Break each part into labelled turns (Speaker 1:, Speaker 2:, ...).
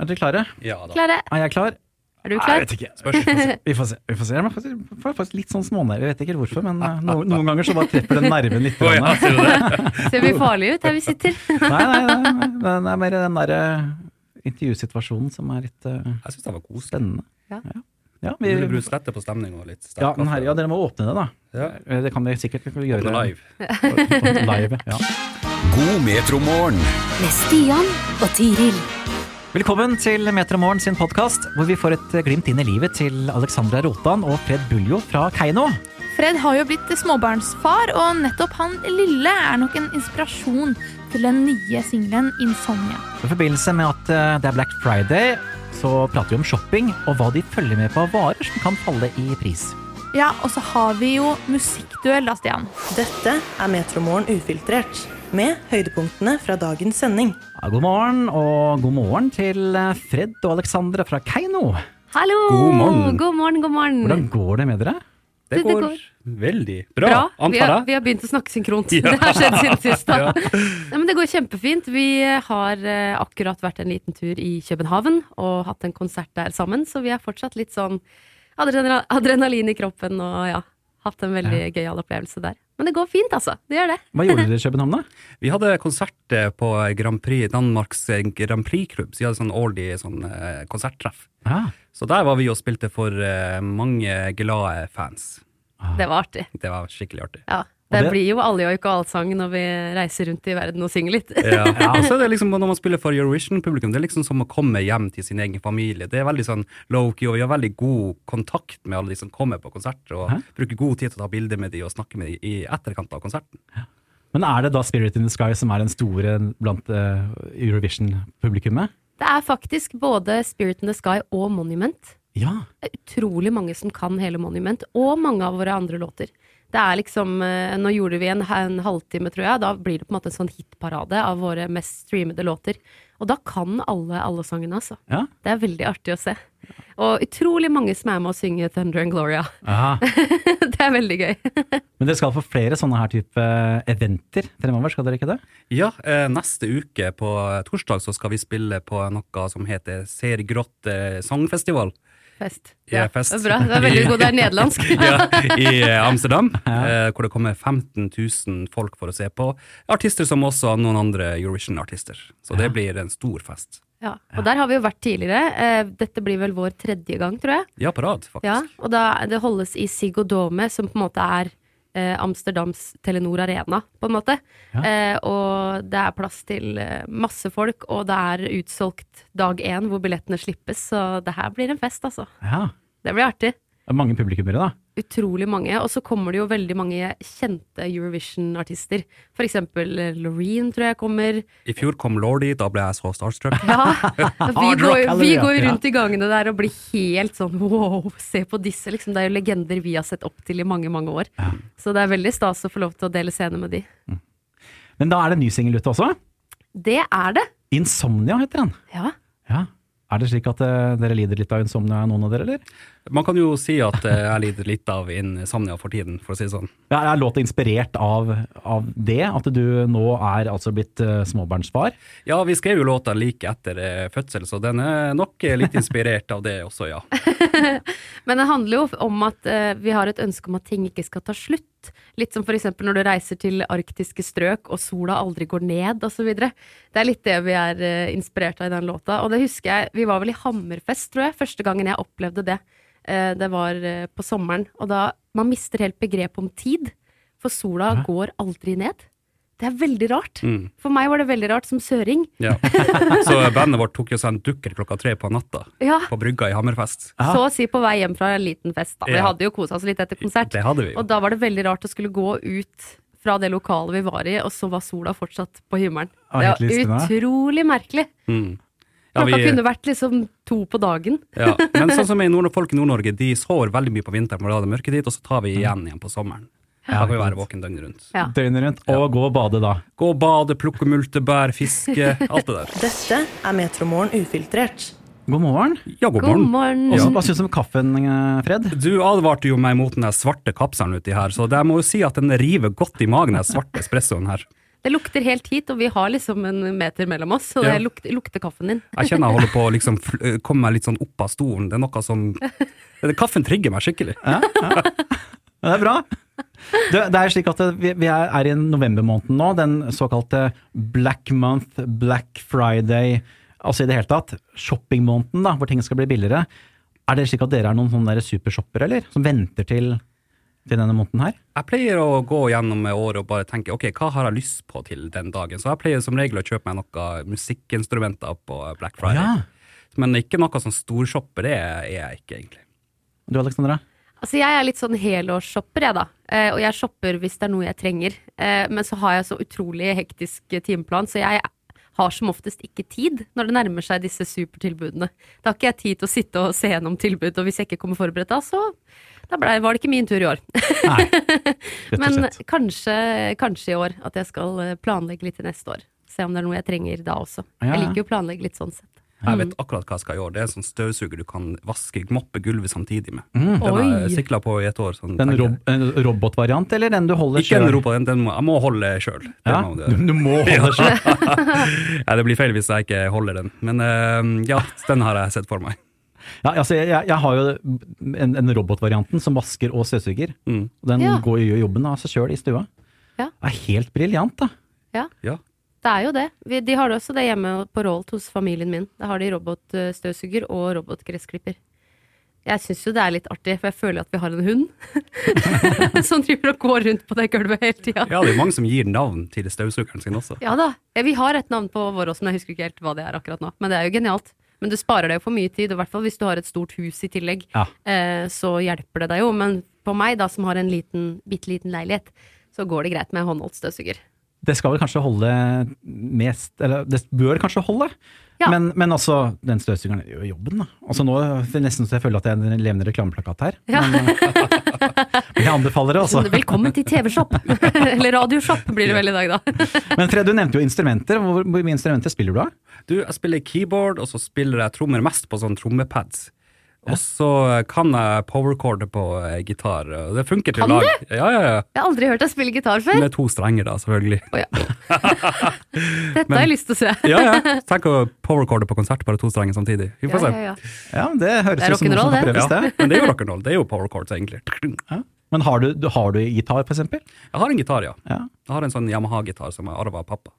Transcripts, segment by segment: Speaker 1: Er dere klare?
Speaker 2: Ja da.
Speaker 3: Klare?
Speaker 1: Er jeg klar?
Speaker 3: Er du
Speaker 1: Nei,
Speaker 3: klar?
Speaker 1: jeg vet ikke.
Speaker 2: Spørs. vi får se.
Speaker 1: Vi får se. Vi får se. Jeg er faktisk- får faktisk litt sånn smånerve, jeg vet ikke hvorfor, men eh, no, noen ganger så bare treffer den nerven litt.
Speaker 2: Å,
Speaker 1: grann.
Speaker 2: ja, ser du det?
Speaker 3: Ser vi farlige ut her vi sitter?
Speaker 1: Nei, nei, nei, nei. Men Det er mer den derre intervjusituasjonen som er litt eh,
Speaker 2: Jeg syns den var koselig.
Speaker 1: spennende.
Speaker 3: Ja.
Speaker 1: ja. ja, vi,
Speaker 2: Ville brukt slette på stemning og litt sterk
Speaker 1: ja, den her,
Speaker 2: kaffe.
Speaker 1: ja, dere må åpne det, da.
Speaker 2: Ja.
Speaker 1: Eh, Det kan vi sikkert gjøre.
Speaker 2: Åpne live.
Speaker 1: live ja.
Speaker 4: God metromorgen.
Speaker 5: Med Stian og Tiril.
Speaker 1: Velkommen til Metromorgen sin podkast, hvor vi får et eh, glimt inn i livet til Alexandra Rotan og Fred Buljo fra Keiino.
Speaker 6: Fred har jo blitt småbarnsfar, og nettopp han lille er nok en inspirasjon til den nye singelen 'Insomnia'.
Speaker 1: I forbindelse med at eh, det er Black Friday, så prater vi om shopping og hva de følger med på av varer som kan falle i pris.
Speaker 6: Ja, og så har vi jo musikkduell, da, Stian.
Speaker 7: Dette er Metromorgen ufiltrert, med høydepunktene fra dagens sending.
Speaker 1: Ja, god morgen, og god morgen til eh, Fred og Alexandra fra Keiino.
Speaker 5: Hallo!
Speaker 2: God morgen.
Speaker 5: God morgen, god morgen.
Speaker 1: Hvordan går det med dere?
Speaker 2: Det
Speaker 5: Det
Speaker 2: går
Speaker 5: går.
Speaker 2: veldig bra,
Speaker 5: Bra. Vi,
Speaker 2: antar
Speaker 5: har,
Speaker 2: jeg.
Speaker 5: vi har begynt å snakke synkront. Det har skjedd siden sist. da. Nei, men det går kjempefint. Vi har eh, akkurat vært en liten tur i København og hatt en konsert der sammen, så vi er fortsatt litt sånn adrenal adrenalin i kroppen og ja, hatt en veldig gøyal opplevelse der. Men det går fint, altså. Det gjør det.
Speaker 1: Hva gjorde dere i København, da?
Speaker 2: Vi hadde konsert eh, på Grand Prix, Danmarks eh, Grand Prix-klubb. Så vi hadde sånn årlig sånn, eh, konserttreff.
Speaker 1: Ja.
Speaker 2: Så der var vi og spilte for eh, mange glade fans.
Speaker 5: Det var artig.
Speaker 2: Det var skikkelig artig.
Speaker 5: Ja. Det,
Speaker 1: Ah. det-
Speaker 5: blir jo alljoik og allsang når vi reiser rundt i verden og synger litt.
Speaker 2: Ja, og så er det liksom Når man spiller for Eurovision-publikum, det er liksom som å komme hjem til sin egen familie. Det er veldig sånn low-key, og vi har veldig god kontakt med alle de som kommer på konsert, og bruker god tid til å ta bilder med de og snakke med de i etterkant av konserten.
Speaker 1: Men er det da Spirit in the Sky som er den store blant eh, Eurovision-publikummet?
Speaker 5: Det er faktisk både Spirit in the Sky og Monument.
Speaker 1: Ja.
Speaker 5: Det er utrolig mange som kan hele Monument, og mange av våre andre låter. Det er liksom, eh, Nå gjorde vi en, en halvtime, tror jeg. Da blir det på en måte en sånn hitparade av våre mest streamede låter. Og da kan alle alle sangene, altså.
Speaker 1: Ja.
Speaker 5: Det er veldig artig å se. Og utrolig mange som er med å synge Thunder and Gloria.
Speaker 1: Ah,
Speaker 5: det er veldig gøy.
Speaker 1: Men dere skal få flere sånne her type eh, eventer fremover, skal dere ikke det?
Speaker 2: Ja, eh, neste uke på torsdag så skal vi spille på noe som heter Ser grått eh, sangfestival.
Speaker 5: Fest.
Speaker 2: Ja, fest.
Speaker 5: Det er bra. Det er veldig god. Det er nederlandsk.
Speaker 2: ja, I eh, Amsterdam, eh, hvor det kommer 15 000 folk for å se på. Artister som også noen andre Eurovision-artister. Så det blir en stor fest.
Speaker 5: Ja. Og der har vi jo vært tidligere. Eh, Dette blir vel vår tredje gang, tror jeg.
Speaker 2: Ja, på rad, faktisk.
Speaker 5: Ja, og da det holdes i Siggo Dome, som på en måte er eh, Amsterdams Telenor Arena, på en måte. Eh, og det er plass til eh, masse folk, og det er utsolgt dag én hvor billettene slippes, så det her blir en fest, altså.
Speaker 1: Ja.
Speaker 5: Det blir artig.
Speaker 1: Det er mange publikummere, da.
Speaker 5: Utrolig mange. Og så kommer det jo veldig mange kjente Eurovision-artister. For eksempel eh, Loreen, tror jeg kommer.
Speaker 2: I fjor kom Lordi, da ble jeg så starstruck.
Speaker 5: Ja, vi
Speaker 1: Hard rock,
Speaker 5: går, vi
Speaker 1: halleluja.
Speaker 5: går jo rundt i gangene der og blir helt sånn wow, se på disse, liksom. Det er jo legender vi har sett opp til i mange, mange år. Så det er veldig stas å få lov til å dele scene med de.
Speaker 1: Men da er det en ny singel ute også.
Speaker 5: Det er det!
Speaker 1: Insomnia heter den.
Speaker 5: Ja.
Speaker 1: Ja. Er det slik at eh, dere lider litt av insomnia, noen av dere, eller?
Speaker 2: Man kan jo si at eh, jeg lider litt av insomnia for tiden, for å si det sånn.
Speaker 1: Ja, Er låta inspirert av, av det, at du nå er altså blitt eh, småbarnsfar?
Speaker 2: Ja, vi skrev jo låta like etter eh, fødsel, så den er nok eh, litt inspirert av det også, ja.
Speaker 5: Men det handler jo om at eh, vi har et ønske om at ting ikke skal ta slutt. Litt som f.eks. når du reiser til arktiske strøk og sola aldri går ned osv. Det er litt det vi er eh, inspirert av i den låta. Og det husker jeg, vi var vel i Hammerfest, tror jeg, første gangen jeg opplevde det. Eh, det var eh, på sommeren. Og da Man mister helt begrepet om tid, for sola går aldri ned. Det er veldig rart. For meg var det veldig rart som søring.
Speaker 2: ja. Så bandet vårt tok jo seg en dukker klokka tre på natta
Speaker 5: Ja.
Speaker 2: på brygga i Hammerfest.
Speaker 1: Ja.
Speaker 5: Så å si på vei hjem fra en liten fest. Da. Vi
Speaker 2: Ja.
Speaker 5: hadde jo kosa oss litt etter konsert.
Speaker 2: Det hadde vi jo.
Speaker 5: Og da var det veldig rart å skulle gå ut fra det lokalet vi var i, og så var sola fortsatt på himmelen.
Speaker 1: Ja,
Speaker 5: Det
Speaker 1: helt
Speaker 5: var
Speaker 1: lystende.
Speaker 5: utrolig merkelig.
Speaker 2: Mm. Ja,
Speaker 5: Klokka
Speaker 2: vi-
Speaker 5: kunne vært liksom to på dagen.
Speaker 2: Ja, men sånn som i Nord folk i Nord-Norge, de sover veldig mye på vinteren, for da er det mørketid, og så tar vi igjen igjen på sommeren. Da kan vi være våken døgnet rundt.
Speaker 5: Ja.
Speaker 1: Døgnet rundt, og gå og bade da.
Speaker 2: Gå og bade, plukke multebær, fiske, alt det der.
Speaker 7: Dette er Metromorgen ufiltrert.
Speaker 1: God morgen.
Speaker 2: Ja, god
Speaker 5: God
Speaker 2: morgen.
Speaker 5: morgen.
Speaker 1: Også, Hva syns du om kaffen, eh, Fred?
Speaker 2: Du advarte jo meg mot den der svarte kapselen uti her, så jeg må jo si at den river godt i magen, den svarte espressoen her.
Speaker 5: Det lukter helt hit, og vi har liksom en meter mellom oss, så
Speaker 2: Ja.
Speaker 5: det lukter, lukter kaffen din.
Speaker 2: Jeg kjenner jeg holder på å liksom fl- øh, komme meg litt sånn opp av stolen. Det er noe som det- Kaffen trigger meg skikkelig.
Speaker 1: Men Det er bra. Du, det er slik at det- vi, vi er er i novembermåneden nå, den såkalte Black Month, Black Friday, altså i det hele tatt, shoppingmåneden da, hvor ting skal bli billigere. Er det slik at dere er noen sånne der supershoppere, eller? Som venter til, til denne måneden her?
Speaker 2: Jeg pleier å gå gjennom året og bare tenke ok, hva har jeg lyst på til den dagen. Så jeg pleier som regel å kjøpe meg noe musikkinstrumenter på Black Friday. Men ikke noe sånn storshopper, det er jeg ikke egentlig.
Speaker 1: Du Alexandra?
Speaker 5: Altså Jeg er litt sånn helårsshopper, jeg, da. Eh, og jeg shopper hvis det er noe jeg trenger. Eh, men så har jeg så utrolig hektisk eh, timeplan, så jeg har som oftest ikke tid når det nærmer seg disse supertilbudene. Da har ikke jeg tid til å sitte og se gjennom tilbud, og hvis jeg ikke kommer forberedt da, så da ble, var det ikke min tur i år.
Speaker 1: Nei, rett og
Speaker 5: Men
Speaker 1: slett.
Speaker 5: kanskje, kanskje i år at jeg skal eh, planlegge litt til neste år. Se om det er noe jeg trenger da også.
Speaker 1: Ja,
Speaker 5: Jeg
Speaker 1: ja.
Speaker 5: liker jo å planlegge litt sånn sett.
Speaker 1: Mm.
Speaker 2: Jeg vet akkurat hva jeg skal gjøre. Det er en sånn støvsuger du kan vaske, moppe gulvet samtidig med. Den har
Speaker 5: Oi!
Speaker 2: jeg sikla på i et år. Sånn,
Speaker 1: Mm. Den
Speaker 2: tenker jeg.
Speaker 1: rob en robotvariant, eller den du holder
Speaker 2: ikke en
Speaker 1: selv?
Speaker 2: Europa, den, den må, jeg må holde sjøl.
Speaker 1: Ja, du, du må holde selv.
Speaker 2: Ja, det blir feil hvis jeg ikke holder den. Men eh, ja, den har jeg sett for meg.
Speaker 1: Ja, altså, jeg, jeg har jo en, en robotvarianten som vasker og støvsuger.
Speaker 2: Mm.
Speaker 1: Og Den
Speaker 5: Ja.
Speaker 1: går og gjør jobben av seg sjøl i stua.
Speaker 5: Ja.
Speaker 1: Det er helt briljant, da.
Speaker 2: Ja.
Speaker 5: Det er jo det. Vi, de har det også det hjemme på Rolt hos familien min. Da har de robotstøvsuger og robotgressklipper. Jeg syns jo det er litt artig, for jeg føler at vi har en hund som driver og går rundt på det gulvet hele tida.
Speaker 2: ja, det er mange som gir navn til støvsugeren sin også.
Speaker 5: Ja da. Ja, Vi har et navn på vår også, men jeg husker ikke helt hva det er akkurat nå. Men det er jo genialt. Men du sparer deg jo for mye tid, og i hvert fall hvis du har et stort hus i tillegg,
Speaker 1: Ja.
Speaker 5: eh, så hjelper det deg jo. Men på meg, da, som har en liten, bitte liten leilighet, så går det greit med håndholdt støvsuger.
Speaker 1: Det skal vel kanskje holde mest Eller det bør kanskje holde,
Speaker 5: Ja.
Speaker 1: men, men altså, den støvsugeren gjør jobben, da. Altså nå det er Nesten så jeg føler at jeg er en levende reklameplakat her.
Speaker 5: Ja.
Speaker 1: Men jeg anbefaler det, altså.
Speaker 5: Velkommen til TV-shop! Eller radioshop blir det vel i dag, da.
Speaker 1: Men Fred, du nevnte jo instrumenter. Hvor, hvor mye instrumenter spiller du av?
Speaker 2: Du, jeg spiller keyboard, og så spiller jeg trommer mest på sånn trommepads. Og så kan jeg powercorde på eh, gitar. og Det funker til
Speaker 5: Kan
Speaker 2: lag. Ja, ja, ja.
Speaker 5: Jeg har aldri hørt deg spille gitar før.
Speaker 2: Med to strenger, da, selvfølgelig.
Speaker 5: Å, ja. Dette har jeg lyst til å se.
Speaker 2: Ja, ja. Tenk å powercorde på konsert, bare to strenger samtidig. Vi får
Speaker 5: Ja,
Speaker 2: se.
Speaker 5: ja, ja.
Speaker 1: Ja, Det høres
Speaker 5: Det
Speaker 1: ut
Speaker 5: er
Speaker 1: som noe som
Speaker 5: rock'n'roll,
Speaker 1: kan
Speaker 5: det.
Speaker 1: prøves, det.
Speaker 2: Men det er jo rock'n'roll. Det er jo powercords, egentlig. Jeg
Speaker 1: Ja. Men har du, du- har du gitar, for eksempel?
Speaker 2: har en gitar, ja.
Speaker 1: Ja.
Speaker 2: Jeg har en sånn Yamaha-gitar som jeg arva av pappa.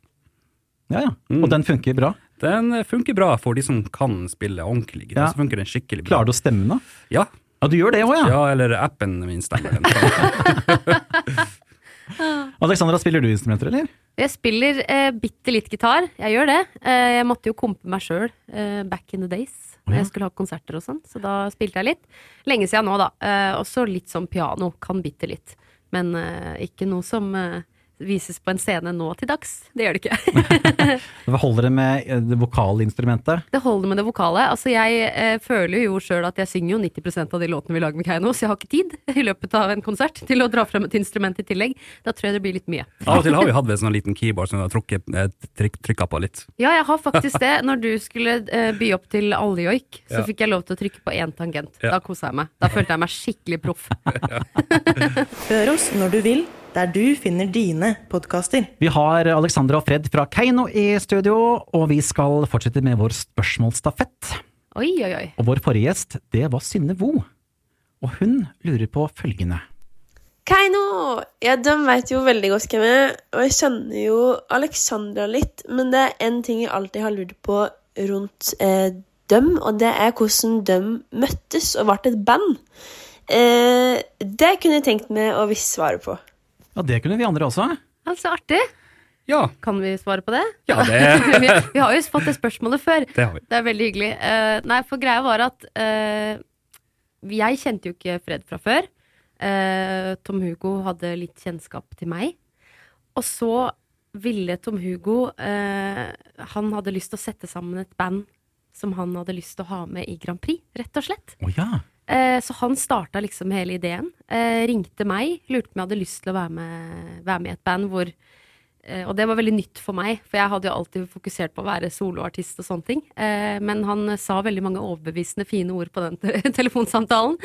Speaker 1: ja, ja. Og den funker bra.
Speaker 2: Den eh, funker bra for de som kan spille ordentlig gitar.
Speaker 1: Ja.
Speaker 2: Så funker den skikkelig bra.
Speaker 1: Klarer du å stemme, da?
Speaker 2: Ja.
Speaker 1: Ja, du gjør det òg, ja.
Speaker 2: ja, eller appen min stemmer den.
Speaker 1: Alexandra, spiller du instrumenter, eller?
Speaker 5: Jeg spiller eh, bitte litt gitar. Jeg gjør det. Eh, jeg måtte jo kompe meg sjøl eh, back in the days
Speaker 1: Å, ja.
Speaker 5: når jeg skulle ha konserter og sånn, så da spilte jeg litt. Lenge siden nå, da. Eh, også litt sånn piano. Kan bitte litt. Men eh, ikke noe som eh, vises på en scene nå til dags. Det gjør det ikke.
Speaker 1: Hva holder det med eh, det vokalinstrumentet?
Speaker 5: Det holder med det vokale. Altså, jeg eh, føler jo sjøl at jeg synger jo 90 av de låtene vi lager med Keiino, så jeg har ikke tid i løpet av en konsert til å dra frem et instrument i tillegg. Da tror jeg det blir litt mye.
Speaker 2: Av og til har vi hatt en sånn liten keyboard som vi har trukket, eh, tryk, trykket på litt.
Speaker 5: Ja, jeg har faktisk det. Når du skulle eh, by opp til alljoik, så
Speaker 2: Ja.
Speaker 5: fikk jeg lov til å trykke på én tangent.
Speaker 2: Ja.
Speaker 5: Da kosa jeg meg. Da følte jeg meg skikkelig proff.
Speaker 7: Hør oss når du vil, der du finner dine podkaster.
Speaker 1: Vi har Alexandra og Fred fra Keiino i studio, og vi skal fortsette med vår spørsmålsstafett.
Speaker 5: Oi, oi, oi.
Speaker 1: Og vår forrige gjest, det var Synne Vo. Og hun lurer på følgende.
Speaker 8: Keiino! Ja, de veit jo veldig godt hvem jeg er, og jeg kjenner jo Alexandra litt, men det er én ting jeg alltid har lurt på rundt eh, dem, og det er hvordan de møttes og ble et band. Eh, det kunne jeg tenkt meg å visst svare på.
Speaker 1: Ja, det kunne vi andre også.
Speaker 5: Altså, artig.
Speaker 2: Ja,
Speaker 5: Kan vi svare på det?
Speaker 2: ja det,
Speaker 5: vi, vi har jo fått det spørsmålet før.
Speaker 2: det har vi.
Speaker 5: Det er veldig hyggelig. Eh, nei, for greia var at eh, jeg kjente jo ikke Fred fra før. Eh, Tom Hugo hadde litt kjennskap til meg. Og så ville Tom Hugo eh, Han hadde lyst til å sette sammen et band som han hadde lyst til å ha med i Grand Prix, rett og slett.
Speaker 1: Å ja.
Speaker 5: Eh, så han starta liksom hele ideen. Eh, ringte meg, lurte på om jeg hadde lyst til å være med, være med i et band hvor eh, Og det var veldig nytt for meg, for jeg hadde jo alltid fokusert på å være soloartist og sånne ting. Eh, men han sa veldig mange overbevisende fine ord på den te- telefonsamtalen.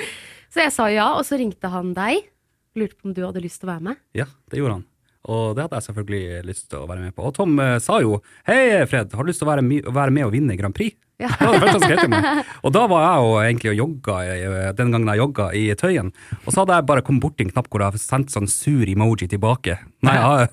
Speaker 5: Så jeg sa ja, og så ringte han deg. Lurte på om du hadde lyst til å være med.
Speaker 2: Ja, det gjorde han. Og det hadde jeg selvfølgelig lyst til å være med på. Og Tom eh, sa jo hei, Fred, har du lyst til å være, my- å være med og vinne Grand Prix?
Speaker 5: Ja.
Speaker 2: Det var det første han skrev til meg. Og da var jeg jo egentlig og jogga eh, den gangen jeg jogga i Tøyen. Og så hadde jeg bare kommet borti en knapp hvor jeg sendte sånn sur emoji tilbake. Nei, ja.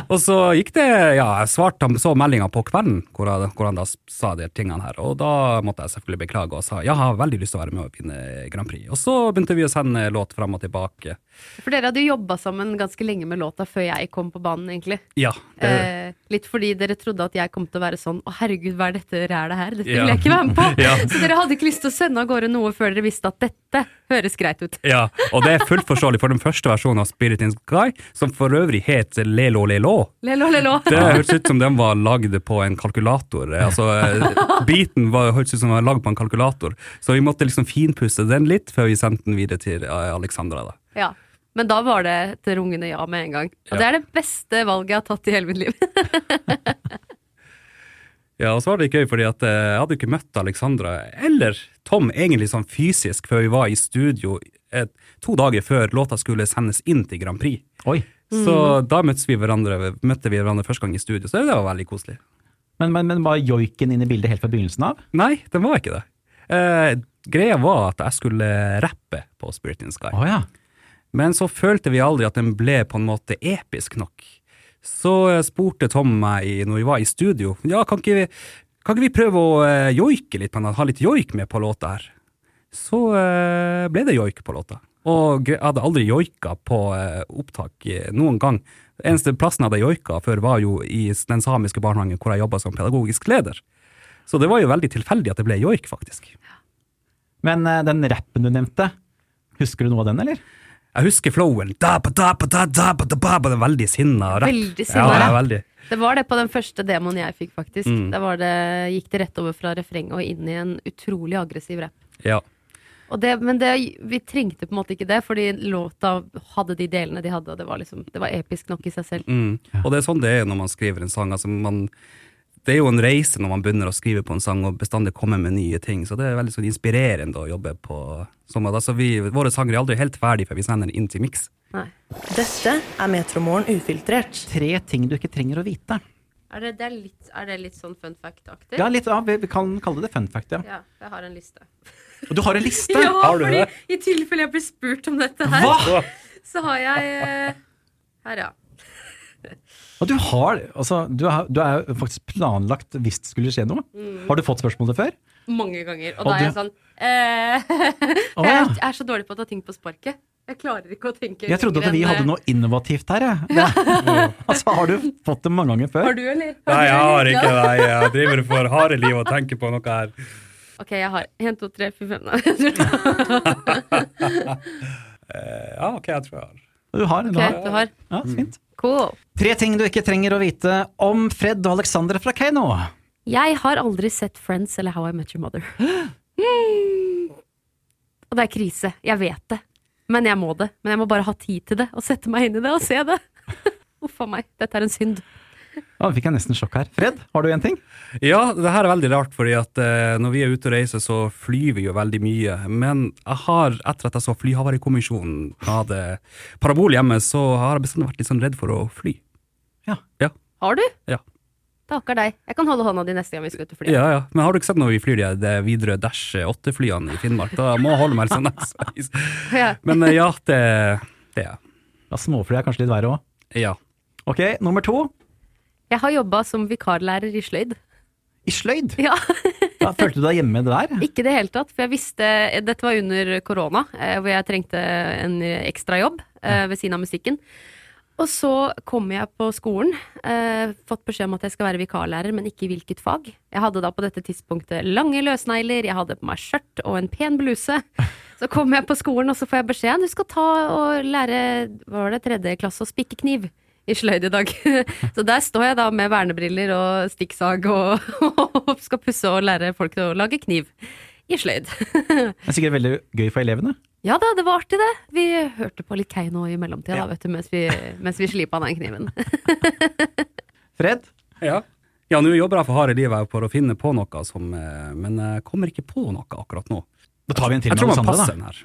Speaker 2: Og så gikk det Ja, jeg svarte han så meldinga på kvelden hvor, jeg, hvor han da sa de tingene her. Og da måtte jeg selvfølgelig beklage og sa ja, jeg har veldig lyst til å være med og vinne Grand Prix. Og så begynte vi å sende låt fram og tilbake.
Speaker 5: For dere hadde jo jobba sammen ganske lenge med låta før jeg kom på banen, egentlig.
Speaker 2: Ja, det,
Speaker 5: Eh, litt fordi dere trodde at jeg kom til å være sånn 'Å, herregud, hva er dette rælet her? Dette
Speaker 2: Ja.
Speaker 5: vil jeg ikke være med på!'
Speaker 2: Ja.
Speaker 5: Så dere hadde ikke lyst til å sende av gårde noe før dere visste at dette høres greit ut.
Speaker 2: Ja, og det er fullt forståelig for den første versjonen av Spirit in Sky, som for øvrig het Lelo Lelo.
Speaker 5: Lelo, lelo.
Speaker 2: Det hørtes ut som den var lagd på en kalkulator. Eh, Altså, eh, Beaten var, hørtes ut som den var lagd på en kalkulator, så vi måtte liksom finpusse den litt før vi sendte den videre til eh, Alexandra. da.
Speaker 5: Ja. Men da var det et rungende ja med en gang. Og
Speaker 2: Ja.
Speaker 5: det er det beste valget jeg har tatt i hele mitt liv.
Speaker 2: Ja, og så var det gøy, fordi at eh, jeg hadde jo ikke møtt Alexandra eller Tom egentlig sånn fysisk før vi var i studio eh, to dager før låta skulle sendes inn til Grand Prix.
Speaker 1: Oi.
Speaker 2: Så da møttes vi hverandre, møtte vi hverandre første gang i studio, så det var veldig koselig.
Speaker 1: Men, men, men var joiken inne i bildet helt fra begynnelsen av?
Speaker 2: Nei, den var ikke det. Eh, greia var at jeg skulle rappe på Spirit in Sky.
Speaker 1: ja.
Speaker 2: Men så følte vi aldri at den ble på en måte episk nok. Så eh, spurte Tom meg i, når vi var i studio, ja, kan ikke vi, kan ikke vi prøve å eh, joike litt, på den, ha litt joik med på låta her? Så eh, ble det joik på låta. Og gre- jeg hadde aldri joika på eh, opptak eh, noen gang. Eneste plassen jeg hadde joika før var jo i s- den samiske barnehagen hvor jeg jobba som pedagogisk leder. Så det var jo veldig tilfeldig at det ble joik, faktisk.
Speaker 1: Men eh, den rappen du nevnte, husker du noe av den, eller?
Speaker 2: Jeg husker flowen. Da, ba, da, ba, da, da, ba, da, ba, ba, det er veldig sinna rapp.
Speaker 5: Veldig sinna
Speaker 2: ja,
Speaker 5: rapp.
Speaker 2: Veldig.
Speaker 5: Det var det på den første demoen jeg fikk, faktisk.
Speaker 2: Mm.
Speaker 5: Da var det, gikk det rett over fra refrenget og inn i en utrolig aggressiv rap.
Speaker 2: Ja.
Speaker 5: Og det, men det, vi trengte på en måte ikke det, fordi låta hadde de delene de hadde, og det var, liksom, det var episk nok i seg selv.
Speaker 2: Mm. Og det er sånn det er når man skriver en sang. Altså man, det er jo en reise når man begynner å skrive på en sang og bestandig kommer med nye ting. Så det er veldig sånn inspirerende å jobbe på sånn. at, Altså vi, våre sanger er aldri helt ferdige før vi sender den inn til miks.
Speaker 5: Nei.
Speaker 7: Dette er Metromorgen ufiltrert.
Speaker 1: Tre ting du ikke trenger å vite.
Speaker 5: Er det, det er, litt, er det litt sånn fun fact-aktig?
Speaker 1: Ja, litt, ja vi, vi kan kalle det fun fact, ja.
Speaker 5: Ja, jeg har en liste.
Speaker 1: Og du har en liste!
Speaker 5: Ja,
Speaker 2: Har du
Speaker 5: fordi
Speaker 2: det?
Speaker 5: i tilfelle jeg blir spurt om dette her,
Speaker 1: Hva?!
Speaker 5: så har jeg eh, Her, ja.
Speaker 1: Og du har altså, du, har, du er jo faktisk planlagt hvis det skulle skje noe.
Speaker 5: Mm.
Speaker 1: Har du fått spørsmålet før?
Speaker 5: Mange ganger. Og
Speaker 1: Og
Speaker 5: da er jeg
Speaker 1: du-
Speaker 5: sånn eh,
Speaker 1: Å,
Speaker 5: jeg,
Speaker 1: ja.
Speaker 5: er, jeg er så dårlig på å ta ting på sparket. Jeg klarer ikke å tenke
Speaker 1: Jeg trodde
Speaker 5: lenger
Speaker 1: at vi
Speaker 5: enn, eh,
Speaker 1: hadde noe innovativt her, jeg. Det- Altså, har du fått det mange ganger før?
Speaker 5: Har du, eller?
Speaker 2: det. Jeg driver for harde liv og tenker på noe her.
Speaker 5: Ok, jeg har 1, 2, 3, 4, 5
Speaker 2: Ja, OK, jeg tror jeg har.
Speaker 1: Du har, du
Speaker 5: Ok,
Speaker 1: har.
Speaker 5: du har.
Speaker 1: Ja, så fint.
Speaker 5: Cool.
Speaker 1: Tre ting du ikke trenger å vite om Fred og Alexander fra Keiino.
Speaker 5: Jeg har aldri sett Friends eller How I Met Your Mother. Mm. Og det er krise. Jeg vet det. Men jeg må det. Men jeg må bare ha tid til det, og sette meg inn i det og se det. Uff a meg. Dette er en synd.
Speaker 1: Nå fikk jeg nesten sjokk her. Fred, har du en ting?
Speaker 2: Ja, det her er veldig rart, fordi at eh, når vi er ute og reiser, så flyr vi jo veldig mye. Men jeg har, etter at jeg så Flyhavarikommisjonen hadde parabol hjemme, så har jeg bestandig vært litt sånn redd for å fly.
Speaker 1: Ja.
Speaker 2: Ja,
Speaker 5: Har du?
Speaker 2: ja.
Speaker 5: Takker deg. Jeg kan holde hånda di neste gang vi skal ut og fly.
Speaker 2: ja, ja. Men har du ikke sett når vi flyr de det Widerøe Dash 8-flyene i Finnmark? Da må jeg holde meg litt sånn eksvis.
Speaker 5: Ja.
Speaker 2: Men eh, ja, det, det er jeg.
Speaker 1: Ja, Småfly er kanskje litt verre òg.
Speaker 2: Ja.
Speaker 1: Ok, nummer to.
Speaker 5: Jeg har jobba som vikarlærer i sløyd.
Speaker 1: I sløyd.
Speaker 5: Ja.
Speaker 1: Ja, følte du deg hjemme der?
Speaker 5: Ikke i det hele tatt, for jeg visste Dette var under korona, eh, hvor jeg trengte en ekstra jobb eh, ved siden av musikken. Og så kom jeg på skolen, eh, fått beskjed om at jeg skal være vikarlærer, men ikke i hvilket fag. Jeg hadde da på dette tidspunktet lange løsnegler, jeg hadde på meg skjørt og en pen bluse. Så kom jeg på skolen, og så får jeg beskjed du skal ta og lære hva var det, tredje klasse å spikke kniv i sløyd i dag. Så der står jeg da med vernebriller og stikksag og, og skal pusse og lære folk å lage kniv i sløyd.
Speaker 1: Det er sikkert veldig gøy for elevene.
Speaker 5: Ja da, det var artig det. Vi hørte på litt Keiino i mellomtida da, vet du, mens vi, mens vi slipa den kniven.
Speaker 1: Fred?
Speaker 2: Ja. Ja, nå jobber jeg for harde livet for å finne på noe som eh, Men jeg kommer ikke på noe akkurat nå.
Speaker 1: Da tar vi en til
Speaker 2: Jeg
Speaker 1: med
Speaker 2: tror man
Speaker 1: Alexander,
Speaker 2: passer
Speaker 1: da.
Speaker 2: den her.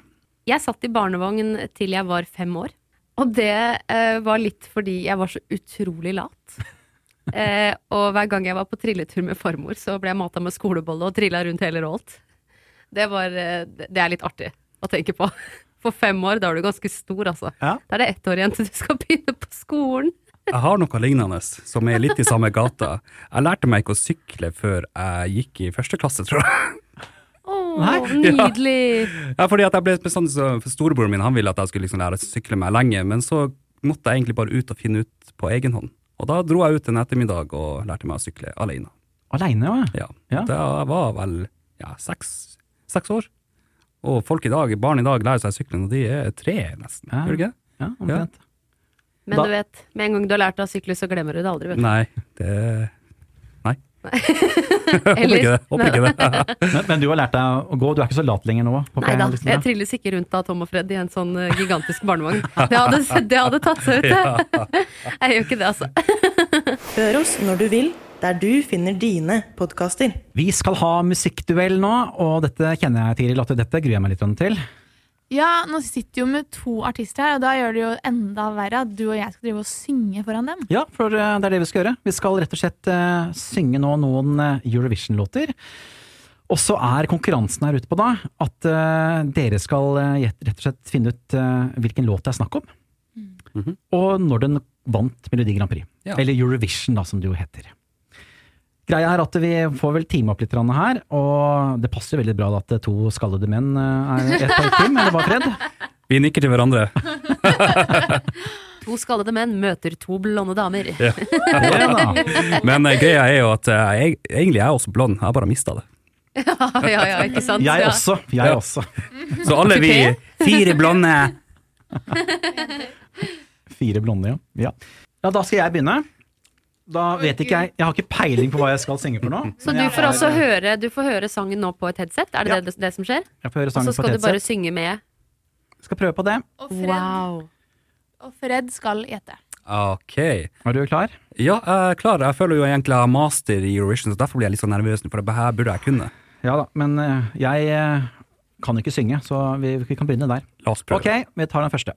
Speaker 5: Jeg satt i barnevogn til jeg var fem år. Og det eh, var litt fordi jeg var så utrolig lat. Eh, og hver gang jeg var på trilletur med farmor, så ble jeg mata med skolebolle og trilla rundt hele Rolt. Det, var, eh, det er litt artig å tenke på. For fem år, da er du ganske stor, altså.
Speaker 1: Ja.
Speaker 5: Da er det ett år igjen til du skal begynne på skolen.
Speaker 2: Jeg har noe lignende, som er litt i samme gata. Jeg lærte meg ikke å sykle før jeg gikk i første klasse, tror jeg.
Speaker 5: Å,
Speaker 1: Nei,
Speaker 5: nydelig!
Speaker 2: Ja, fordi at jeg ble bestandig så for Storebroren min han ville at jeg skulle liksom lære å sykle meg lenge, men så måtte jeg egentlig bare ut og finne ut på egen hånd. Og da dro jeg ut en ettermiddag og lærte meg å sykle alene.
Speaker 1: Aleine, ja.
Speaker 2: Ja.
Speaker 1: Ja.
Speaker 2: Da var jeg vel ja, seks, seks år. Og folk i dag, barn i dag lærer seg sykling, og de er tre nesten.
Speaker 1: Ja.
Speaker 2: Gjør de ikke?
Speaker 1: ja omtrent.
Speaker 5: Men
Speaker 1: Da-
Speaker 5: du vet, med en gang du har lært deg å sykle, så glemmer du det aldri, vet du.
Speaker 2: Nei, det Håper ikke
Speaker 5: Eller?
Speaker 2: det. Håper ikke det.
Speaker 1: Men, men du har lært deg å gå, du er ikke så lat lenger nå? håper
Speaker 5: Nei da,
Speaker 1: liksom,
Speaker 5: jeg trilles ikke rundt av Tom og Fred i en sånn eh, gigantisk barnevogn. Det hadde, det hadde tatt seg ut, det. Jeg gjør ikke det, altså.
Speaker 7: Hør oss når du vil, der du finner dine podkaster.
Speaker 1: Vi skal ha musikkduell nå, og dette kjenner jeg, Tiril, at dette gruer jeg meg litt til.
Speaker 6: Ja, nå sitter jo med to artister her, og da gjør det jo enda verre at du og jeg skal drive og synge foran dem.
Speaker 1: Ja, for eh, det er det vi skal gjøre. Vi skal rett og slett eh, synge nå noen eh, Eurovision-låter. Og så er konkurransen her ute på da at eh, dere skal eh, gjett- rett og slett finne ut eh, hvilken låt det er snakk om. Og når den vant Melodi Grand Prix.
Speaker 2: Ja.
Speaker 1: Eller Eurovision, da, som det jo heter. Greia er at vi får vel time opp litt grann her, og det passer jo veldig bra at eh, to skallede menn eh, er et par team, eller hva, Fred?
Speaker 2: Vi nikker til hverandre.
Speaker 5: To skallede menn møter to blonde damer.
Speaker 1: Det da.
Speaker 2: Men eh, greia er jo at eh, jeg, egentlig er jeg også blond, jeg har bare mista det.
Speaker 5: Ja, ja, ja, ikke sant?
Speaker 1: Jeg
Speaker 5: ja.
Speaker 1: også. Jeg
Speaker 2: Ja.
Speaker 1: også.
Speaker 2: Så alle vi fire blonde
Speaker 1: Fire blonde, ja. ja. Ja, da skal jeg begynne. Da vet ikke jeg Jeg har ikke peiling på hva jeg skal synge for nå.
Speaker 5: Så
Speaker 1: men
Speaker 5: du
Speaker 1: jeg
Speaker 5: får
Speaker 1: har-
Speaker 5: altså høre, du får høre sangen nå på et headset? Er det
Speaker 1: Ja.
Speaker 5: det, det som skjer?
Speaker 1: Jeg får høre
Speaker 5: Og
Speaker 1: sangen
Speaker 5: så
Speaker 1: på
Speaker 5: skal du bare
Speaker 1: Tetset.
Speaker 5: synge med?
Speaker 1: Skal prøve på det.
Speaker 6: Og Fred,
Speaker 5: Wow.
Speaker 6: og Fred skal gjette.
Speaker 2: Ok.
Speaker 1: Er du klar?
Speaker 2: Ja, jeg er klar. Jeg føler jo egentlig jeg har master i Eurovision, så derfor blir jeg litt sånn nervøs, nå, for det her burde jeg kunne.
Speaker 1: Ja da. Men eh, jeg eh, kan ikke synge, så vi, vi kan begynne der.
Speaker 2: La oss prøve.
Speaker 1: Ok, vi tar den første.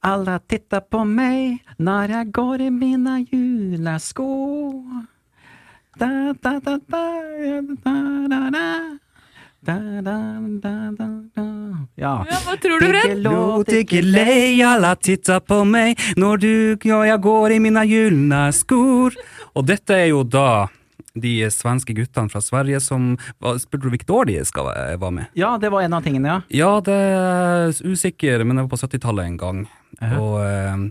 Speaker 1: Alla tittar på mig när jag går i mina julasko. Da, da, da, da, da, da, da. Da, da, da, da, da. Ja.
Speaker 6: Hva tror du, Fred?
Speaker 2: Lot ikke lei, alla titta på meg når du og jeg går i mine gylne skor. Og dette er jo da de svenske guttene fra Sverige som hva- Spurte du hvilket år de skal være var med?
Speaker 1: Ja, det var en av tingene, ja.
Speaker 2: Ja, det er usikker, men det var på 70-tallet en gang. Og eh,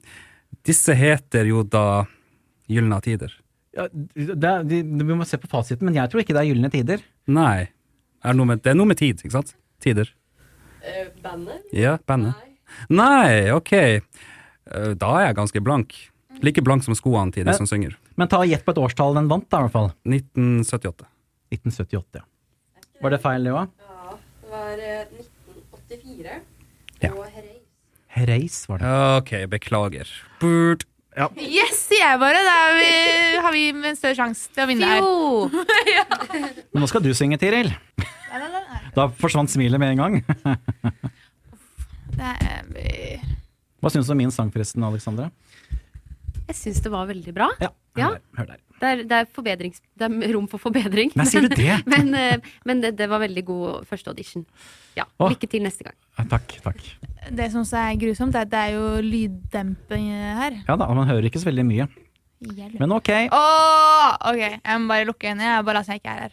Speaker 2: disse heter jo da Gylna tider.
Speaker 1: Ja, det, er- de- de- vi må se på fasiten, men jeg tror ikke det er gylne tider.
Speaker 2: Nei, er det, noe med, det er noe med tid, ikke sant? Tider.
Speaker 5: Eh, bandet?
Speaker 2: Ja, bandet. Nei, ok. Eh, Da er jeg ganske blank. Like blank som skoene til de som synger.
Speaker 1: Men ta og gjett på et årstall den vant, da, i hvert fall.
Speaker 2: 1978.
Speaker 1: 1978. ja. Var det feil, det òg?
Speaker 5: Det var eh, 1984.
Speaker 2: Ja.
Speaker 1: Reis, var det.
Speaker 2: Ok, beklager. Burt.
Speaker 6: Yes, sier jeg bare. Da er vi, har vi en større sjanse til å vinne her.
Speaker 5: Jo!
Speaker 1: Men nå skal du synge, Tiril. Da forsvant smilet med en gang.
Speaker 6: Det er vi-
Speaker 1: Hva syns du om min sang, forresten, Alexandra?
Speaker 5: Jeg syns det var veldig bra.
Speaker 1: Ja,
Speaker 5: Ja.
Speaker 1: hør der. Hør der.
Speaker 5: Det er, det er, forbedrings- det er rom for forbedring.
Speaker 1: Nei, sier du det?
Speaker 5: Men, eh, men det, det var veldig god første audition. Ja,
Speaker 1: Åh.
Speaker 5: Lykke til neste gang.
Speaker 1: Ja, Takk, takk.
Speaker 6: Det som også er grusomt, er at det er jo lyddemping her.
Speaker 1: Ja da, man hører ikke så veldig mye.
Speaker 6: Hjelp.
Speaker 1: Men ok.
Speaker 6: Åh, ok, jeg må bare lukke øynene. Jeg bare later som jeg ikke er her.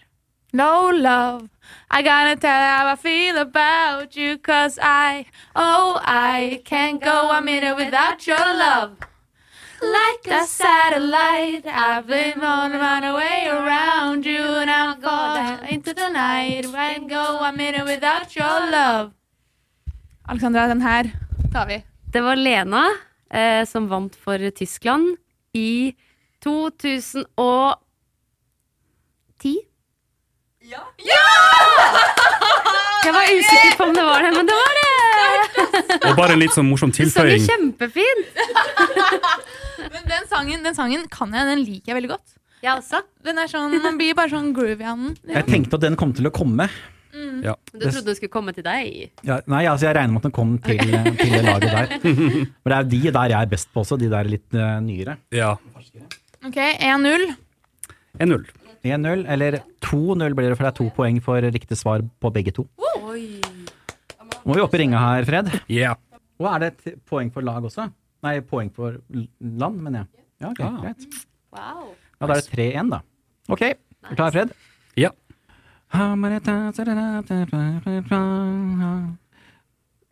Speaker 6: No love, I gotta tell you how I feel about you Cause I, oh I can't go a minute without your love Like a satellite, I've been on my way around you And I'm gone into the night, I can't go a minute without your love Alexandra, den her tar vi
Speaker 5: Det var Lena eh, som vant for Tyskland i 2010. Jeg var usikker på om det var det, men det var det!
Speaker 2: Og bare en litt sånn morsom
Speaker 5: Du sang jo
Speaker 2: tilføying.
Speaker 5: kjempefint!
Speaker 6: Men den sangen, den sangen kan jeg, den liker jeg veldig godt
Speaker 5: Jeg også.
Speaker 6: Den er sånn, den blir bare sånn groovy av den
Speaker 1: Jeg tenkte at den kom til å komme,
Speaker 2: Ja.
Speaker 5: Du trodde den skulle komme til deg?
Speaker 1: Ja, nei, altså jeg regner med at den kom til, til det laget der. Men det er jo de der jeg er best på også, de der litt eh, nyere.
Speaker 2: Ja.
Speaker 6: OK, 1-0.
Speaker 2: 1-0.
Speaker 1: 1-0, eller 2-0 blir det, for det er to poeng for riktig svar på begge to. Må vi opp i ringa her, Fred?
Speaker 2: Yeah.
Speaker 1: Og er det et poeng for lag også? Nei, poeng for l- land, mener jeg. Ja, ok,
Speaker 2: Ah.
Speaker 1: greit.
Speaker 5: Wow.
Speaker 1: Ja, da er det 3-1, da. OK, er du klar, Fred?
Speaker 2: Ja.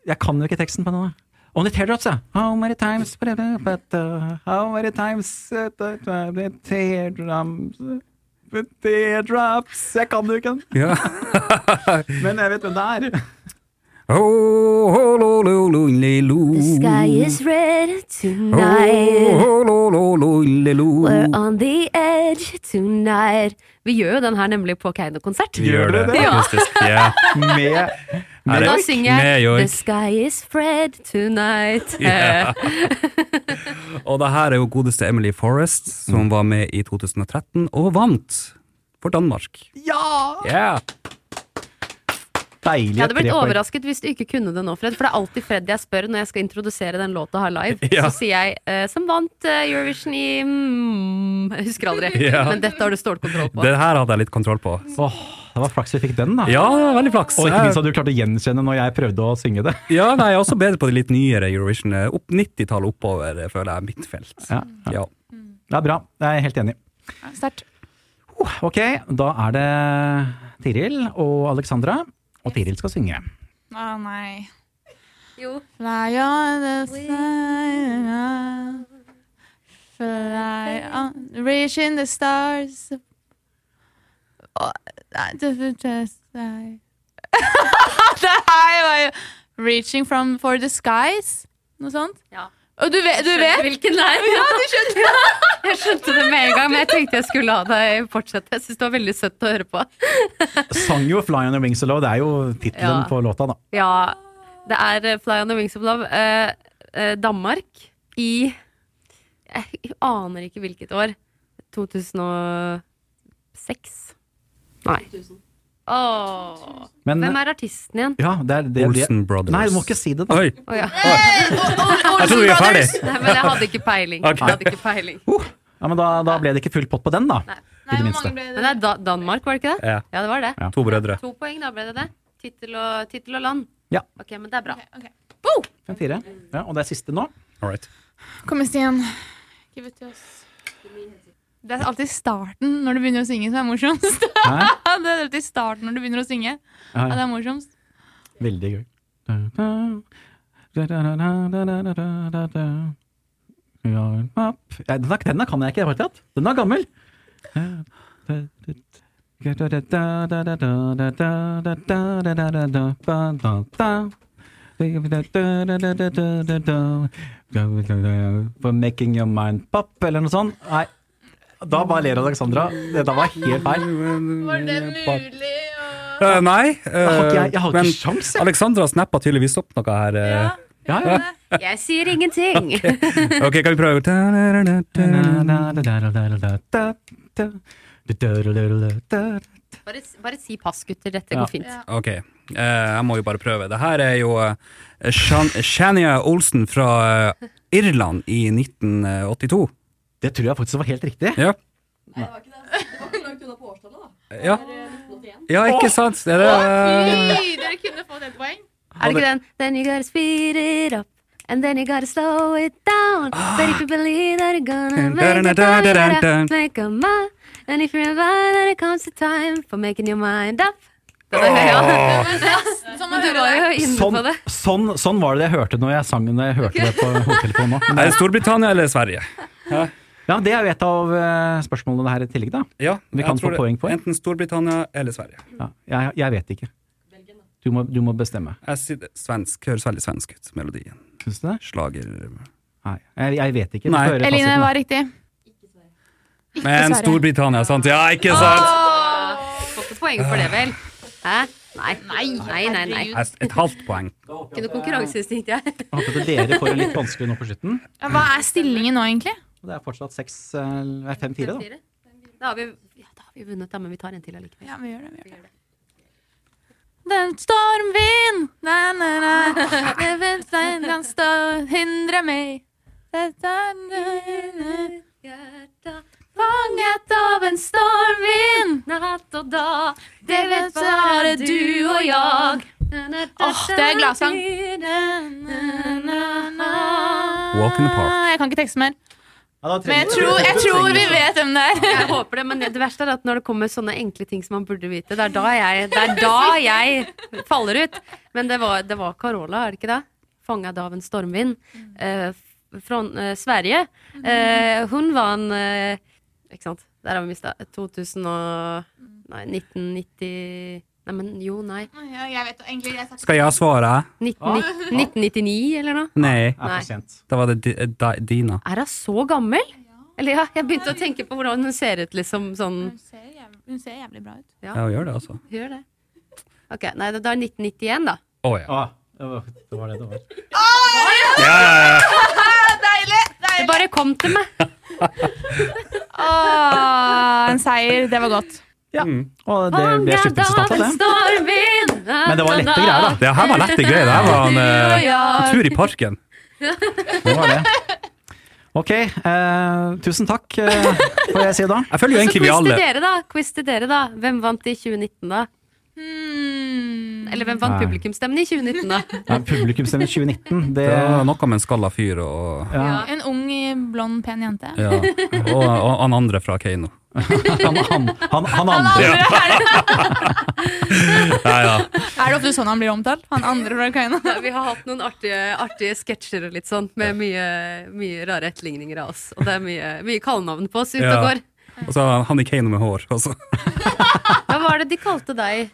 Speaker 1: Jeg kan jo ikke teksten på noe. Only teardrops, ja. How many times but, uh, but, uh, How many times uh, but, uh, but teardrops but Teardrops Jeg kan jo ikke den,
Speaker 2: ja.
Speaker 1: men jeg vet hvem det er.
Speaker 2: Oh, oh, lo, lo, lo, le, lo.
Speaker 3: The sky is red tonight.
Speaker 2: Oh, lo, lo, lo, le, lo.
Speaker 3: We're on the edge tonight.
Speaker 5: Vi gjør jo den her nemlig på Keiino-konsert.
Speaker 2: Gjør det,
Speaker 1: det?
Speaker 5: Ja.
Speaker 2: akustisk. Ja.
Speaker 1: Med
Speaker 2: Er
Speaker 5: Da
Speaker 2: det-
Speaker 5: synger
Speaker 2: Med
Speaker 5: jeg The
Speaker 2: joik.
Speaker 5: sky is red tonight.
Speaker 2: Ja. Og det her er jo godeste Emily Forrest,
Speaker 1: Mm.
Speaker 2: som var med i 2013 og vant for Danmark.
Speaker 1: Ja!
Speaker 2: Yeah.
Speaker 1: Deilige
Speaker 5: Jeg hadde blitt
Speaker 1: tre poeng.
Speaker 5: overrasket hvis du ikke kunne det nå, Fred. For det er alltid Fred jeg spør når jeg skal introdusere den låta her live.
Speaker 2: Ja.
Speaker 5: Så sier jeg eh, 'som vant eh, Eurovision i mm, Jeg husker aldri.
Speaker 2: Ja.
Speaker 5: Men dette har du stålkontroll på.
Speaker 2: Det her hadde jeg litt kontroll på.
Speaker 1: Åh, det var flaks vi fikk den, da.
Speaker 2: Ja, det var veldig flaks.
Speaker 1: Og ikke minst
Speaker 2: Jeg,
Speaker 1: at du klarte å gjenkjenne når jeg prøvde å synge det.
Speaker 2: ja, nei, jeg er også bedre på de litt nyere Eurovision. Opp 90-tallet oppover eh, føler jeg er mitt felt.
Speaker 1: Ja, ja.
Speaker 2: Ja.
Speaker 1: Det er bra, jeg er helt enig.
Speaker 6: Sterkt.
Speaker 1: Ok, da er det Tiril og Alexandra. Og Tiril skal synge.
Speaker 6: Å nei.
Speaker 5: Jo.
Speaker 6: Fly on the sky. Fly on Reaching the stars. Å, nei, det er just nei. Det her var jo Reaching from for the skies. Noe sånt.
Speaker 5: Ja.
Speaker 6: Og du vet? Du vet?
Speaker 5: Hvilken det er?
Speaker 6: Ja, du skjønte det.
Speaker 5: Jeg skjønte det med en gang, men jeg tenkte jeg skulle la deg fortsette. Jeg syns det var veldig søtt å høre på.
Speaker 1: Sang jo 'Fly on the Wings of Love', det er jo tittelen
Speaker 5: Ja.
Speaker 1: på låta, da.
Speaker 5: Ja, det er eh, Fly on the Wings of Love. eh, eh, Danmark i Jeg aner ikke hvilket år. 2006? Nei. Åh.
Speaker 1: Men
Speaker 5: Hvem er artisten igjen?
Speaker 1: ja, det er det, det.
Speaker 2: Olsen Brothers.
Speaker 1: Nei, du må ikke si det, da.
Speaker 2: Oi,
Speaker 5: Å ja.
Speaker 2: jeg tror vi er ferdig.
Speaker 5: Nei, men jeg hadde ikke peiling.
Speaker 2: Ok.
Speaker 5: Jeg hadde ikke peiling.
Speaker 1: Ja, men da, da ble det ikke full pott på den, da. I
Speaker 5: Nei.
Speaker 1: det
Speaker 6: hvor
Speaker 1: minste.
Speaker 6: mange ble
Speaker 5: Men det er da Danmark, var det ikke det?
Speaker 2: Ja.
Speaker 5: Ja, det var det.
Speaker 1: Ja.
Speaker 2: To brødre.
Speaker 5: To poeng, da ble det det. Tittel og, tittel og land.
Speaker 1: Ja.
Speaker 5: Ok, men det er bra.
Speaker 6: Ok, ok.
Speaker 1: 5-4. Ja, og det er siste nå.
Speaker 2: All right.
Speaker 6: Kom igjen, Stian. Give it to us. Det er alltid starten når du begynner å synge som er morsomst.
Speaker 1: Hæ?
Speaker 6: Ja, det er alltid starten når du begynner å synge. Ja, det er morsomst.
Speaker 1: Veldig gøy. Ja, den, er, den er kan jeg ikke i det hele tatt. Den er gammel. For making your mind pop, eller noe sånt. Nei. Da bare ler Alexandra. Det da var helt feil.
Speaker 6: Var det mulig å
Speaker 2: Eh, nei, eh,
Speaker 1: har ikke jeg- jeg har ikke
Speaker 2: men
Speaker 1: sjans, jeg.
Speaker 2: Alexandra snappa tydeligvis opp noe her. eh.
Speaker 1: Ja,
Speaker 6: Ja,
Speaker 1: ja.
Speaker 5: Jeg sier ingenting.
Speaker 2: Ok, kan vi prøve?
Speaker 5: Bare, bare si pass, gutter. Dette
Speaker 1: Ja.
Speaker 5: går fint.
Speaker 2: Ok, eh, jeg må jo bare prøve. Det her er jo eh, Shan Shania Olsen fra eh, Irland i 1982.
Speaker 1: Det tror jeg faktisk var helt riktig.
Speaker 2: Ja. Ja. ja, ikke sant? Det eh, er det.
Speaker 6: Fy, dere kunne fått et poeng.
Speaker 5: Er det ikke den? Then you gotta speed it up. And then you gotta slow it down. But if you believe that you're gonna make it, then you gotta make a mind. And if you remember that it comes to time for making your mind up. Det var, ja.
Speaker 6: Som
Speaker 5: Men du var jo inne
Speaker 1: Sånn,
Speaker 5: på det.
Speaker 1: sånn, sånn var det jeg hørte når jeg sang når jeg hørte det på hodetelefonen nå.
Speaker 2: Er det Storbritannia eller Sverige?
Speaker 1: Ja, det er jo et av eh, spørsmålene her i tillegg, da.
Speaker 2: Ja,
Speaker 1: Vi
Speaker 2: jeg
Speaker 1: kan
Speaker 2: tror
Speaker 1: få
Speaker 2: det-
Speaker 1: poeng for.
Speaker 2: Enten Storbritannia eller Sverige.
Speaker 1: Ja, jeg, jeg vet ikke. Du må, du må bestemme.
Speaker 2: Jeg sier det- svensk. Høres veldig svensk ut, melodien.
Speaker 1: Syns du det?
Speaker 2: Slager
Speaker 1: Nei, jeg, jeg vet ikke.
Speaker 2: Nei.
Speaker 6: Eline var riktig.
Speaker 2: Men
Speaker 6: Sverige.
Speaker 2: Storbritannia, sant? Ja, ikke sant?
Speaker 5: Får ikke poeng for det, vel? Hæ? Nei. Nei, nei, nei.
Speaker 2: Et- Et halvt poeng.
Speaker 5: Ikke noe konkurranseinstinkt, jeg.
Speaker 1: Jeg håper at dere får en litt vanskelig nå på slutten.
Speaker 6: Ja, Hva er stillingen nå, egentlig?
Speaker 1: Og Det er fortsatt seks eh, fem-fire, da.
Speaker 5: Da har vi, ja, da har vi vunnet, da, men vi tar en til allikevel.
Speaker 6: Ja, vi gjør det. Vi gjør det. Den stormvind na, na, na. Det finnes en kan stå hindre meg Det er den- Fanget av en stormvind
Speaker 5: Natt og dag,
Speaker 6: Det vet bare du og jeg Åh, det er gladsang
Speaker 2: Walk in the park.
Speaker 6: Jeg kan ikke tekste mer
Speaker 1: Ja, da trenger
Speaker 6: Men jeg
Speaker 1: du-
Speaker 6: tror, jeg
Speaker 1: du
Speaker 6: tror
Speaker 1: trenger
Speaker 6: vi
Speaker 1: ikke.
Speaker 6: vet hvem det er
Speaker 5: Jeg håper det, men det verste er at når det kommer sånne enkle ting som man burde vite, det er da jeg, det er da jeg faller ut. Men det var, det var Carola, er det ikke det? Fanget av en stormvind eh, f- fra eh, Sverige. Eh, hun var en eh, Ikke sant? Der har vi mista 2000 og Nei, 1990 Nei, men jo, nei.
Speaker 6: Ja, Jeg vet egentlig jeg
Speaker 2: Skal jeg svare?
Speaker 5: 1990 1999 eller noe?
Speaker 2: Nei.
Speaker 1: Ja,
Speaker 5: Nei.
Speaker 1: for sent.
Speaker 2: Da var det di, eh, da, Dina.
Speaker 5: Er hun så gammel? Eller ja, jeg begynte å tenke på hvordan hun ser ut, liksom sånn
Speaker 6: Hun ser, jævlig, hun ser jævlig bra ut.
Speaker 2: Ja, hun gjør det, altså.
Speaker 5: Gjør det. Ok, nei, det da er 1991, da.
Speaker 2: Å ja.
Speaker 1: Å, det var det var det det var.
Speaker 6: Deilig!
Speaker 5: Det bare kom til meg.
Speaker 6: Åh, en seier. Det var godt.
Speaker 1: Ja.
Speaker 6: Mm.
Speaker 1: Og det ble sluttresultatet, det. Men
Speaker 5: Men
Speaker 1: det var lette greier, da.
Speaker 2: Det her var lette greier. Det her var en eh,
Speaker 5: Ja.
Speaker 2: tur i parken.
Speaker 1: det, var det. Ok, eh, tusen takk, eh, får jeg si da.
Speaker 2: Jeg føler jo
Speaker 5: Så
Speaker 2: egentlig vi
Speaker 5: quiz til
Speaker 2: alle
Speaker 5: Altså, dere, da. Quiz til dere, da. Hvem vant i 2019, da?
Speaker 6: Hmm.
Speaker 5: Eller hvem vant
Speaker 1: Nei.
Speaker 5: publikumsstemmen i 2019, da?
Speaker 1: Ja, Publikumsstemmen 2019, det
Speaker 2: Det var noe med en skalla fyr og
Speaker 1: ja.
Speaker 6: En ung, blond, pen jente.
Speaker 2: ja. Og, og han andre fra Keiino.
Speaker 1: han, han, han, han andre.
Speaker 2: Ja. Ja, ja.
Speaker 6: Er det ofte sånn han blir omtalt? Han andre fra Ukraina?
Speaker 5: Vi har hatt noen artige, artige sketsjer og litt sånn, med mye, mye rare etterligninger av oss. Og det er mye, mye kallenavn på oss ute
Speaker 2: Ja.
Speaker 5: og går.
Speaker 2: Og så han i Keiino med hår. altså. Og så
Speaker 5: Hva var det de kalte deg?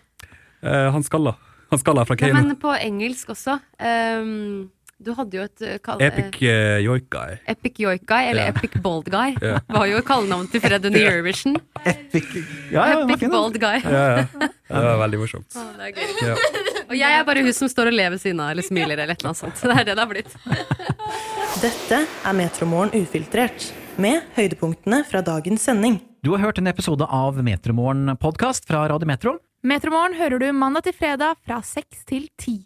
Speaker 2: eh, han skalla. Han skalla fra
Speaker 5: Nei,
Speaker 2: Keiino.
Speaker 5: men på engelsk også. Ehm, du hadde jo et eh, kall... eh,
Speaker 2: Epic uh, joikai.
Speaker 5: Epic York Guy, eller
Speaker 2: Ja.
Speaker 5: Epic Bold Guy,
Speaker 2: Ja.
Speaker 5: var jo kallenavnet til Fred under Eurovision.
Speaker 1: Fikk- Ja, ja, den var
Speaker 5: Epic
Speaker 1: fin, den.
Speaker 5: Bold Guy.
Speaker 2: Ja, ja. Det var veldig morsomt.
Speaker 5: Å, det er gøy.
Speaker 2: Ja.
Speaker 5: Og jeg er bare hun som står og ler ved siden av, eller smiler, eller et eller annet sånt. Så det er det det har blitt.
Speaker 7: Dette er Metromorgen ufiltrert, med høydepunktene fra dagens sending.
Speaker 1: Du har hørt en episode av Metromorgen podkast fra Radio Metro.
Speaker 6: Metromorgen hører du mandag til fredag fra seks til ti.